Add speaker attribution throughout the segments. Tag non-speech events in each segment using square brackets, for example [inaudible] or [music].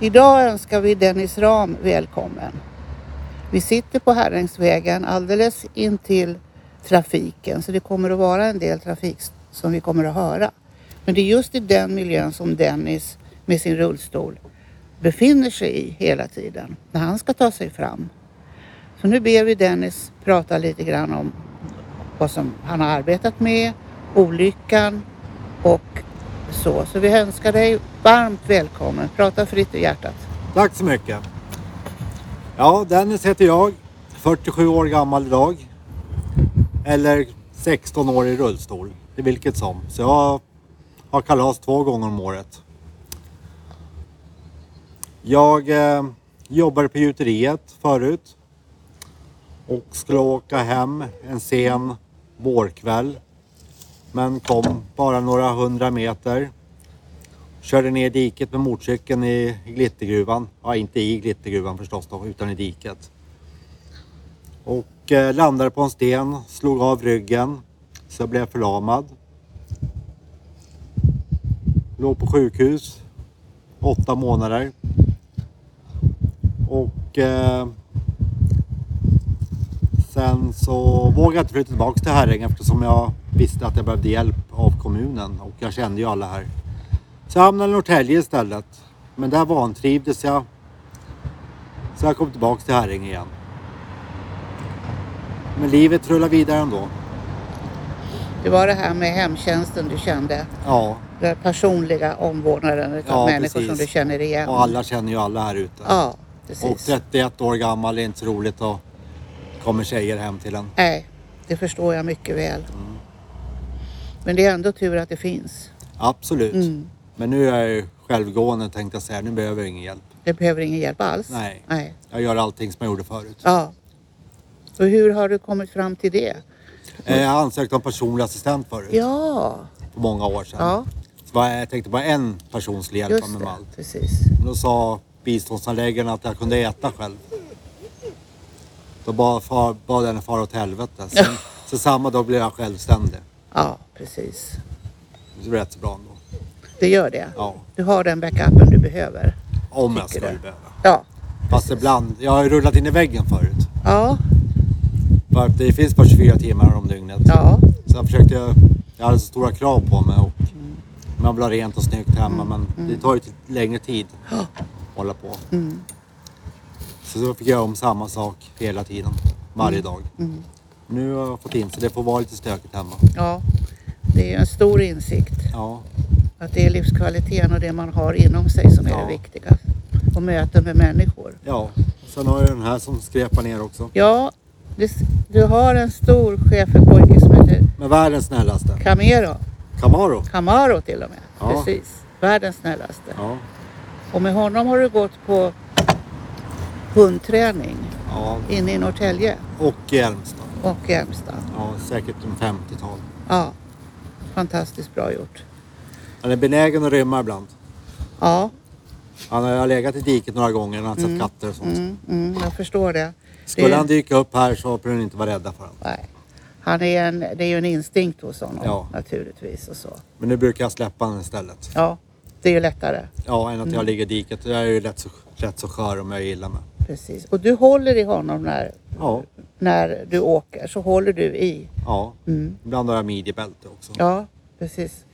Speaker 1: Idag önskar vi Dennis Ram välkommen. Vi sitter på Herrängsvägen alldeles intill trafiken så det kommer att vara en del trafik som vi kommer att höra. Men det är just i den miljön som Dennis med sin rullstol befinner sig i hela tiden när han ska ta sig fram. Så nu ber vi Dennis prata lite grann om vad som han har arbetat med, olyckan och så. Så vi önskar dig varmt välkommen. Prata fritt ur hjärtat.
Speaker 2: Tack så mycket. Ja, Dennis heter jag. 47 år gammal idag. Eller 16 år i rullstol, i vilket som. Så jag har kalas två gånger om året. Jag eh, jobbade på gjuteriet förut och skulle åka hem en sen vårkväll. Men kom bara några hundra meter. Körde ner i diket med motorcykeln i glittergruvan. Ja, inte i glittergruvan förstås då, utan i diket. Och eh, landade på en sten, slog av ryggen så jag blev förlamad. Låg på sjukhus åtta månader. Och eh, sen så vågade jag inte flytta tillbaka till Herräng eftersom jag visste att jag behövde hjälp av kommunen och jag kände ju alla här. Så jag hamnade i Norrtälje istället. Men där vantrivdes jag. Så jag kom tillbaka till Herräng igen. Men livet rullar vidare ändå.
Speaker 1: Det var det här med hemtjänsten du kände.
Speaker 2: Ja,
Speaker 1: Den personliga omvårdnaden utav
Speaker 2: Ja,
Speaker 1: människor som
Speaker 2: precis.
Speaker 1: du känner igen.
Speaker 2: och alla känner ju alla här ute.
Speaker 1: Ja,
Speaker 2: och
Speaker 1: precis.
Speaker 2: 31 år gammal är inte så roligt och kommer tjejer hem till en.
Speaker 1: Nej, det förstår jag mycket väl.
Speaker 2: Mm.
Speaker 1: Men det är ändå tur att det finns.
Speaker 2: Absolut.
Speaker 1: Mm.
Speaker 2: Men nu är jag ju självgående tänkte jag säga. Nu behöver jag ingen hjälp.
Speaker 1: Du behöver ingen hjälp alls.
Speaker 2: Nej.
Speaker 1: Nej.
Speaker 2: Jag gör allting som jag gjorde förut.
Speaker 1: Ja. Och hur har du kommit fram till det?
Speaker 2: Eh, Jag ansökte om personlig assistent förut.
Speaker 1: Ja,
Speaker 2: För många år sedan.
Speaker 1: ja
Speaker 2: Så var- jag tänkte bara en person skulle hjälpa
Speaker 1: just
Speaker 2: mig med allt.
Speaker 1: det. Precis.
Speaker 2: Men Då sa biståndsanläggaren att jag kunde äta själv. Då bad, far, bad den fara åt helvete. Sen, så samma dag blev jag självständig.
Speaker 1: Ja, precis.
Speaker 2: Det blev rätt så bra ändå.
Speaker 1: Det gör det.
Speaker 2: Ja.
Speaker 1: Du har den backupen du behöver.
Speaker 2: Om jag
Speaker 1: Tycker
Speaker 2: skulle
Speaker 1: du?
Speaker 2: behöva.
Speaker 1: Ja.
Speaker 2: Fast ibland, jag har ju rullat in i väggen förut.
Speaker 1: Ja,
Speaker 2: För att det finns bara 24 timmar om dygnet.
Speaker 1: ja,
Speaker 2: Så jag försökte, jag hade så stora krav på mig. Och Man vill ha rent och snyggt hemma
Speaker 1: Mm.
Speaker 2: men det tar ju till- längre tid att hålla på.
Speaker 1: Mm.
Speaker 2: Så då fick jag göra om samma sak hela tiden, varje
Speaker 1: Mm.
Speaker 2: dag. Nu har jag fått in så det får vara lite stökigt hemma.
Speaker 1: ja. Det är ju en stor insikt.
Speaker 2: Ja,
Speaker 1: Att det är livskvaliteten och det man har inom sig som är
Speaker 2: Ja.
Speaker 1: det viktiga. Och möten med människor.
Speaker 2: ja. Sen har jag den här som skräpar ner också.
Speaker 1: Ja, det, du har en stor schäferpojke som heter
Speaker 2: Men världens snällaste.
Speaker 1: Camero.
Speaker 2: Camaro.
Speaker 1: Camaro till och med.
Speaker 2: Ja.
Speaker 1: Precis. Världens snällaste.
Speaker 2: Ja,
Speaker 1: Och med honom har du gått på hundträning
Speaker 2: ja.
Speaker 1: inne i Norrtälje
Speaker 2: Och i Älmstad.
Speaker 1: och i Halmstad.
Speaker 2: Ja, säkert en 50-tal.
Speaker 1: Ja, fantastiskt bra gjort.
Speaker 2: Han är benägen att rymma ibland.
Speaker 1: Ja,
Speaker 2: Han har legat i diket några gånger när han sett katter och sånt.
Speaker 1: mm, mm, jag förstår det.
Speaker 2: Skulle
Speaker 1: det
Speaker 2: han dyka upp här så behöver ni inte vara rädda för honom.
Speaker 1: Nej. Han är en, det är ju en instinkt hos honom
Speaker 2: Ja.
Speaker 1: naturligtvis och så.
Speaker 2: Men nu brukar jag släppa honom istället.
Speaker 1: Ja, det är ju lättare.
Speaker 2: Ja, än att
Speaker 1: Mm.
Speaker 2: jag ligger i diket. Jag är ju rätt så, rätt så skör om jag gillar mig.
Speaker 1: Precis. Och du håller i honom när,
Speaker 2: Ja,
Speaker 1: när du åker, så håller du i.
Speaker 2: ja. Ibland har jag midjebälte också.
Speaker 1: Mm. Ja, precis. Så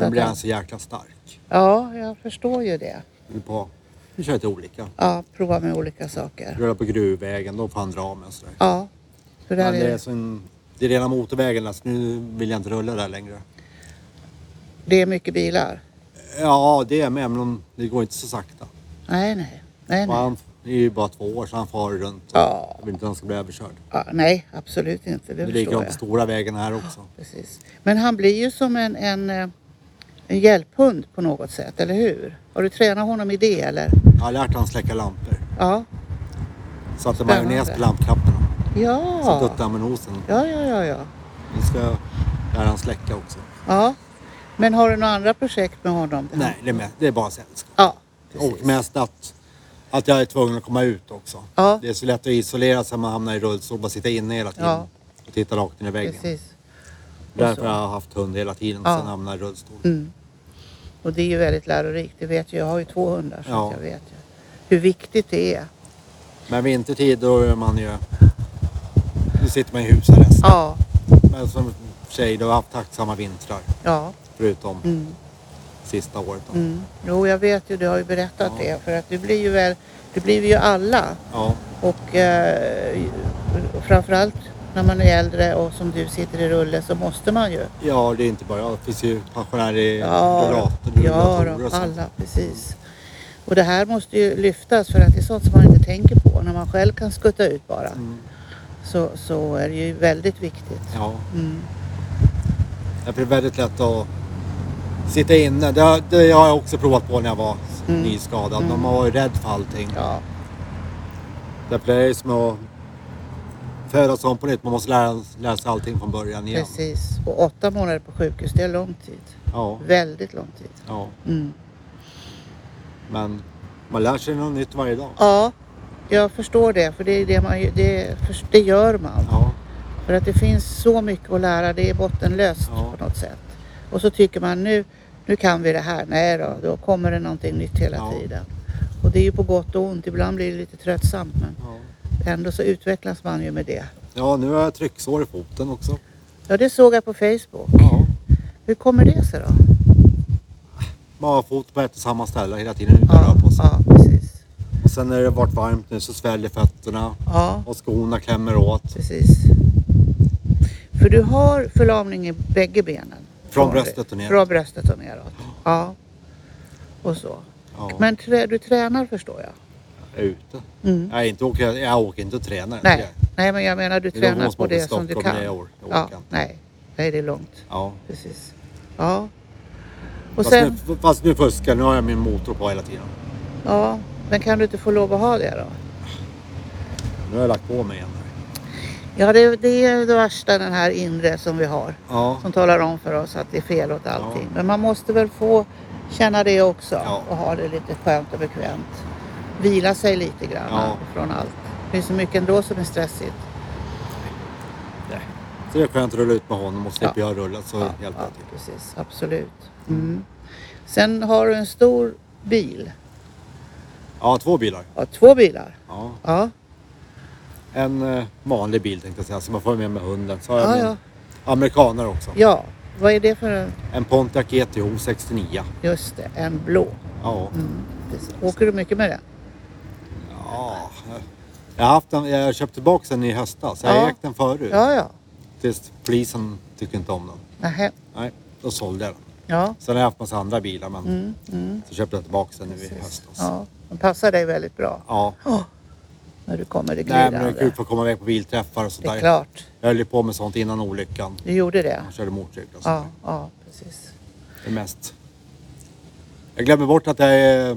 Speaker 2: Men
Speaker 1: att
Speaker 2: blir
Speaker 1: han-
Speaker 2: han så jäkla stark.
Speaker 1: Ja, jag förstår ju det.
Speaker 2: Vi På, vi kör lite olika.
Speaker 1: Ja, prova med olika saker.
Speaker 2: Rullar på gruvvägen, då får han dra mig och sådär.
Speaker 1: Ja, så där
Speaker 2: Men det
Speaker 1: är,
Speaker 2: är, så en, det är rena motorvägen, alltså nu vill jag inte rulla där längre.
Speaker 1: det är mycket bilar.
Speaker 2: Ja, det är med, men om- det går inte så sakta.
Speaker 1: Nej, nej. Nej,
Speaker 2: Och
Speaker 1: nej.
Speaker 2: han är ju bara två år, så han far runt.
Speaker 1: Ja.
Speaker 2: Jag vill inte att han ska bli överkörd.
Speaker 1: Ja, nej, absolut inte. Det
Speaker 2: Det är
Speaker 1: förstår
Speaker 2: likadant
Speaker 1: jag.
Speaker 2: på stora vägen här också.
Speaker 1: Precis. Men han blir ju som en, en, eh, en hjälphund på något sätt, eller hur? Har du tränat honom i det eller?
Speaker 2: Jag har lärt han släcka lampor.
Speaker 1: Ja.
Speaker 2: Satte
Speaker 1: Spännande.
Speaker 2: majonnäs på lampknapparna. Så
Speaker 1: Ja.
Speaker 2: duttade han med nosen.
Speaker 1: Ja, ja, ja, ja.
Speaker 2: Nu ska jag lära han släcka också.
Speaker 1: Ja. Men har du några andra projekt med honom?
Speaker 2: Nej, det är, med, det är bara sällskap.
Speaker 1: Ja.
Speaker 2: Och mest att, att jag är tvungen att komma ut också.
Speaker 1: Ja.
Speaker 2: Det är så lätt att isolera sig när man hamnar i rullstol. Bara sitta inne hela tiden.
Speaker 1: Ja.
Speaker 2: Och titta rakt in i väggen.
Speaker 1: Precis.
Speaker 2: Därför har jag haft hund hela tiden.
Speaker 1: Ja. Mm.
Speaker 2: Sen hamnade jag i rullstol.
Speaker 1: Och det är ju väldigt lärorikt, det vet jag. Jag har ju två hundar så
Speaker 2: Ja.
Speaker 1: att jag vet ju. hur viktigt det är.
Speaker 2: Men vintertid då är man ju... Då sitter man i husarrest.
Speaker 1: Ja,
Speaker 2: Men som tjej, då har jag haft tacksamma vintrar.
Speaker 1: ja.
Speaker 2: Förutom
Speaker 1: Mm.
Speaker 2: sista året då.
Speaker 1: Mm. Jo, jag vet ju, du har ju berättat
Speaker 2: Ja.
Speaker 1: det. För att det blir ju väl, det blir vi ju alla.
Speaker 2: Ja,
Speaker 1: Och eh, framförallt när man är äldre och som du sitter i rulle så måste man ju.
Speaker 2: ja, det är inte bara jag. Det finns ju pensionärer i
Speaker 1: Ja,
Speaker 2: rullator,
Speaker 1: ja
Speaker 2: rullatorer och
Speaker 1: då,
Speaker 2: sånt.
Speaker 1: alla, precis. Och det här måste ju lyftas för att det är sånt som man inte tänker på. När man själv kan skutta ut bara
Speaker 2: Mm,
Speaker 1: så, så är det ju väldigt viktigt.
Speaker 2: ja.
Speaker 1: Mm.
Speaker 2: Därför är det väldigt lätt att sitta inne. Det, har- det har jag också provat på när jag var
Speaker 1: Mm.
Speaker 2: nyskadad.
Speaker 1: Mm.
Speaker 2: Man var ju rädd för allting.
Speaker 1: Ja,
Speaker 2: Därför är det som att födas om på nytt. Man måste lära, lära sig allting från början igen.
Speaker 1: precis. Och åtta månader på sjukhus, det är lång tid.
Speaker 2: Ja,
Speaker 1: Väldigt lång tid.
Speaker 2: ja.
Speaker 1: Mm.
Speaker 2: Men man lär sig något nytt varje dag.
Speaker 1: Ja, jag förstår det. För det, är det, man, ju- det, för- det gör man.
Speaker 2: Ja,
Speaker 1: För att det finns så mycket att lära. Det är bottenlöst
Speaker 2: Ja.
Speaker 1: på något sätt. Och så tycker man nu, nu kan vi det här. Nej då, då kommer det någonting nytt hela
Speaker 2: Ja.
Speaker 1: tiden. Och det är ju på gott och ont. Ibland blir det lite tröttsamt men
Speaker 2: ja.
Speaker 1: ändå så utvecklas man ju med det.
Speaker 2: ja, nu har jag trycksår i foten också.
Speaker 1: Ja, det såg jag på Facebook.
Speaker 2: Ja.
Speaker 1: Hur kommer det sig då?
Speaker 2: Man har fot på ett och samma ställe hela tiden utan att
Speaker 1: Ja,
Speaker 2: röra på sig.
Speaker 1: ja precis.
Speaker 2: Och sen när det varit varmt nu så sväller fötterna
Speaker 1: Ja,
Speaker 2: och skorna klämmer åt.
Speaker 1: precis. För du har förlamning i bägge benen.
Speaker 2: Från bröstet och ner.
Speaker 1: Från bröstet och neråt. Ja. Och så.
Speaker 2: Ja,
Speaker 1: Men trä, du tränar förstår jag.
Speaker 2: jag är ute.
Speaker 1: Mm.
Speaker 2: Jag, är inte åker, jag åker inte och tränar.
Speaker 1: Nej. Nej, men jag menar du
Speaker 2: Det är då
Speaker 1: tränar
Speaker 2: måste
Speaker 1: på
Speaker 2: man åka
Speaker 1: det
Speaker 2: till
Speaker 1: som du
Speaker 2: Stockholm.
Speaker 1: kan.
Speaker 2: Nej, jag or- jag
Speaker 1: ja,
Speaker 2: orkar inte.
Speaker 1: nej. nej, det är långt.
Speaker 2: Ja.
Speaker 1: Precis. Ja. Och
Speaker 2: Fast,
Speaker 1: sen,
Speaker 2: nu, fast nu fuskar jag. Nu har jag min motor på hela tiden.
Speaker 1: ja, men kan du inte få lov att ha det då?
Speaker 2: Nu har jag lagt på mig igen. här.
Speaker 1: Ja, det, det är det värsta den här inre som vi har.
Speaker 2: Ja.
Speaker 1: Som talar om för oss att det är fel åt allting. Men man måste väl få känna det också
Speaker 2: Ja.
Speaker 1: och ha det lite skönt och bekvämt. Vila sig lite grann
Speaker 2: Ja.
Speaker 1: från allt. Det finns så mycket ändå som är stressigt.
Speaker 2: Så det är skönt att rulla ut med honom och slipper jag rulla så
Speaker 1: Ja,
Speaker 2: hjälper
Speaker 1: ja
Speaker 2: jag till.
Speaker 1: precis. Absolut. Mm. Sen har du en stor bil.
Speaker 2: Ja, två bilar.
Speaker 1: Ja, två bilar.
Speaker 2: Ja.
Speaker 1: Ja,
Speaker 2: En eh, vanlig bil tänkte jag säga som jag får med mig hunden. Så har jag
Speaker 1: ja,
Speaker 2: min
Speaker 1: ja.
Speaker 2: amerikanare också.
Speaker 1: ja. Vad är det för en?
Speaker 2: En Pontiac E GTO 69.
Speaker 1: Just det, en blå.
Speaker 2: Ja.
Speaker 1: Mm. precis. Åker du mycket med den?
Speaker 2: ja. Jag, har haft den, jag köpte tillbaka den i höstas. Jag har
Speaker 1: Ja.
Speaker 2: ägt den förut.
Speaker 1: Ja, ja.
Speaker 2: Tills polisen tyckte inte om den.
Speaker 1: Nähä.
Speaker 2: Nej, då sålde jag den.
Speaker 1: Ja.
Speaker 2: Sen har jag haft massa andra bilar men
Speaker 1: Mm, mm.
Speaker 2: så köpte jag tillbaka den nu i
Speaker 1: Precis.
Speaker 2: höstas.
Speaker 1: Ja, den passar dig väldigt bra.
Speaker 2: Ja.
Speaker 1: När du kommer i
Speaker 2: Nej men det är
Speaker 1: glidande.
Speaker 2: kul för att komma iväg på bilträffar och
Speaker 1: Det är
Speaker 2: sådär.
Speaker 1: klart.
Speaker 2: Jag höll ju på med sånt innan olyckan.
Speaker 1: Du gjorde det?
Speaker 2: Jag körde motorcykel och sådär.
Speaker 1: Ja, ja precis.
Speaker 2: Det är mest. Jag glömmer bort att jag är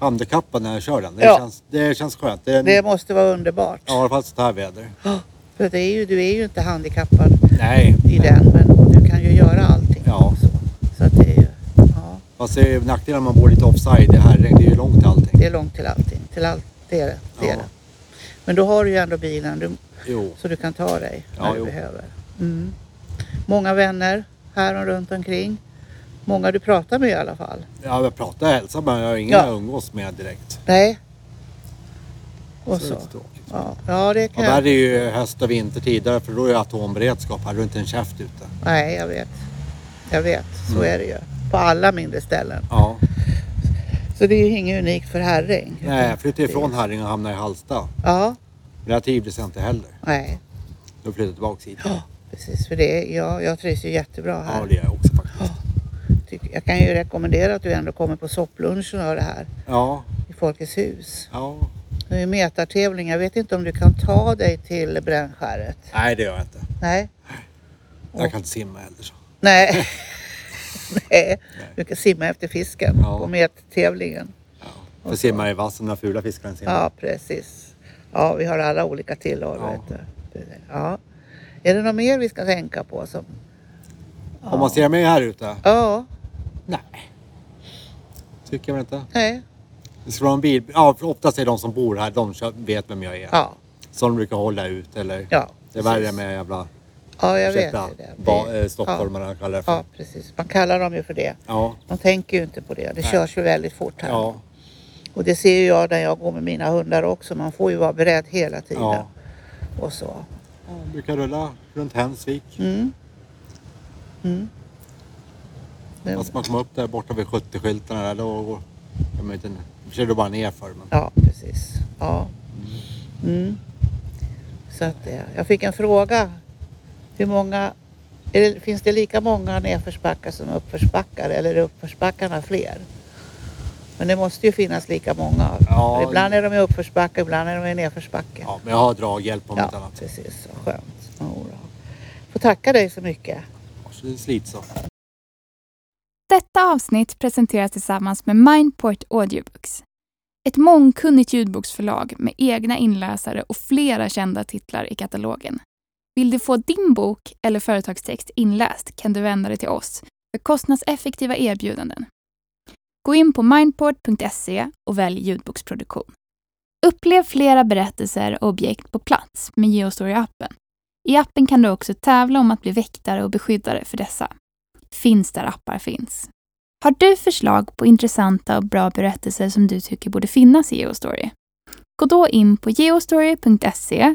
Speaker 2: handikappad när jag kör den. Det,
Speaker 1: Ja.
Speaker 2: känns, det känns skönt. Det är,
Speaker 1: Det måste vara underbart.
Speaker 2: Ja, i alla fall sånt här väder.
Speaker 1: För det är ju, du är ju inte handikappad
Speaker 2: Nej,
Speaker 1: i den, men och du kan ju göra allting.
Speaker 2: Ja.
Speaker 1: Så, så att det är ju, ja,
Speaker 2: fast det är ju nackdelen när man bor lite offside. Det här det är ju långt till allting.
Speaker 1: det är långt till allting. Till allt, det är det. det, är
Speaker 2: Ja.
Speaker 1: det. Men då har du ju ändå bilen du,
Speaker 2: Jo,
Speaker 1: så du kan ta dig när
Speaker 2: Oh. Ja,
Speaker 1: du
Speaker 2: jo.
Speaker 1: behöver. Mm. Många vänner här och runt omkring. Många du pratar med i alla fall.
Speaker 2: ja, jag pratar och hälsar men jag har ingen
Speaker 1: Ja.
Speaker 2: jag umgås med direkt.
Speaker 1: Nej. Och
Speaker 2: Så det är
Speaker 1: så.
Speaker 2: lite tråkigt.
Speaker 1: Ja, ja det
Speaker 2: Och
Speaker 1: kan
Speaker 2: där är
Speaker 1: jag.
Speaker 2: ju höst och vintertider för då är ju atomberedskap. Här då är inte en käft ute.
Speaker 1: Nej, jag vet. Jag vet, så
Speaker 2: Mm.
Speaker 1: är det ju. På alla mindre ställen.
Speaker 2: Ja.
Speaker 1: Så det är ju inget unikt för Herräng.
Speaker 2: Nej, jag flyttade ifrån Herräng och hamnade i Hallsta.
Speaker 1: Ja,
Speaker 2: Men jag trivdes inte heller.
Speaker 1: nej.
Speaker 2: Då flyttade jag tillbaka hit.
Speaker 1: Ja, precis. För det, ja, jag trivs ju jättebra
Speaker 2: Ja,
Speaker 1: här.
Speaker 2: det gör jag också faktiskt.
Speaker 1: Tycker- Jag kan ju rekommendera att du ändå kommer på sopplunchen och det här
Speaker 2: Ja,
Speaker 1: i Folkets hus.
Speaker 2: ja.
Speaker 1: Det är ju metartävling. Jag vet inte om du kan ta dig till brännskäret.
Speaker 2: Nej, det gör jag inte.
Speaker 1: Nej.
Speaker 2: Jag kan inte simma heller. Så.
Speaker 1: Nej. [laughs] Nej. Du kan simma efter fisken
Speaker 2: Ja.
Speaker 1: på mettävlingen.
Speaker 2: Ja. För simmar i vassen, de fula fiskarna simmar.
Speaker 1: Ja, precis. Ja, vi har alla olika tillhör.
Speaker 2: Ja.
Speaker 1: Vet du. Ja. Är det något mer vi ska tänka på? Som...
Speaker 2: Om man ser mig här ute?
Speaker 1: Ja,
Speaker 2: Nej. Tycker jag väl inte.
Speaker 1: nej.
Speaker 2: Det ska vara en bil. Ja, för oftast är de som bor här, de kö- vet vem jag är.
Speaker 1: Ja,
Speaker 2: Som brukar hålla ut eller...
Speaker 1: ja.
Speaker 2: Det är värre
Speaker 1: precis.
Speaker 2: med jävla...
Speaker 1: Ja, jag vet
Speaker 2: ursäkta,
Speaker 1: ju det.
Speaker 2: ba-
Speaker 1: Vi-
Speaker 2: eh, stockholmare kallar det för.
Speaker 1: Ja, precis. Man kallar dem ju för det.
Speaker 2: Ja.
Speaker 1: De tänker ju inte på det. Det
Speaker 2: Nej.
Speaker 1: körs ju väldigt fort här.
Speaker 2: ja.
Speaker 1: Och det ser ju jag när jag går med mina hundar också. Man får ju vara beredd hela tiden.
Speaker 2: Ja.
Speaker 1: Och så.
Speaker 2: Jag brukar rulla runt Hemsvik.
Speaker 1: Mm. Mm. Det-
Speaker 2: Fast man kommer upp där borta vid 70-skyltarna där, då går... Jag vet inte, då kör du bara ner för men...
Speaker 1: Ja, precis. Ja. Mm. Så att det, jag fick en fråga. Hur många, är det, finns det lika många nedförsbackar som uppförsbackar eller är uppförsbackarna fler? Men det måste ju finnas lika många.
Speaker 2: Ja.
Speaker 1: För ibland är de i uppförsbacke, ibland är de i nedförsbacke.
Speaker 2: Ja, men jag har draghjälp om
Speaker 1: Ja,
Speaker 2: inte annat.
Speaker 1: precis. Så Skönt. Ja, då. Får tacka dig så mycket.
Speaker 2: Så det slits av.
Speaker 3: Detta avsnitt presenteras tillsammans med Mindport Audiobooks. Ett mångkunnigt ljudboksförlag med egna inläsare och flera kända titlar i katalogen. Vill du få din bok eller företagstext inläst kan du vända dig till oss för kostnadseffektiva erbjudanden. Gå in på mindport.se och välj ljudboksproduktion. Upplev flera berättelser och objekt på plats med Geostory-appen. I appen kan du också tävla om att bli väktare och beskyddare för dessa finns där appar finns. Har du förslag på intressanta och bra berättelser som du tycker borde finnas i Geostory? Gå då in på geostory.se,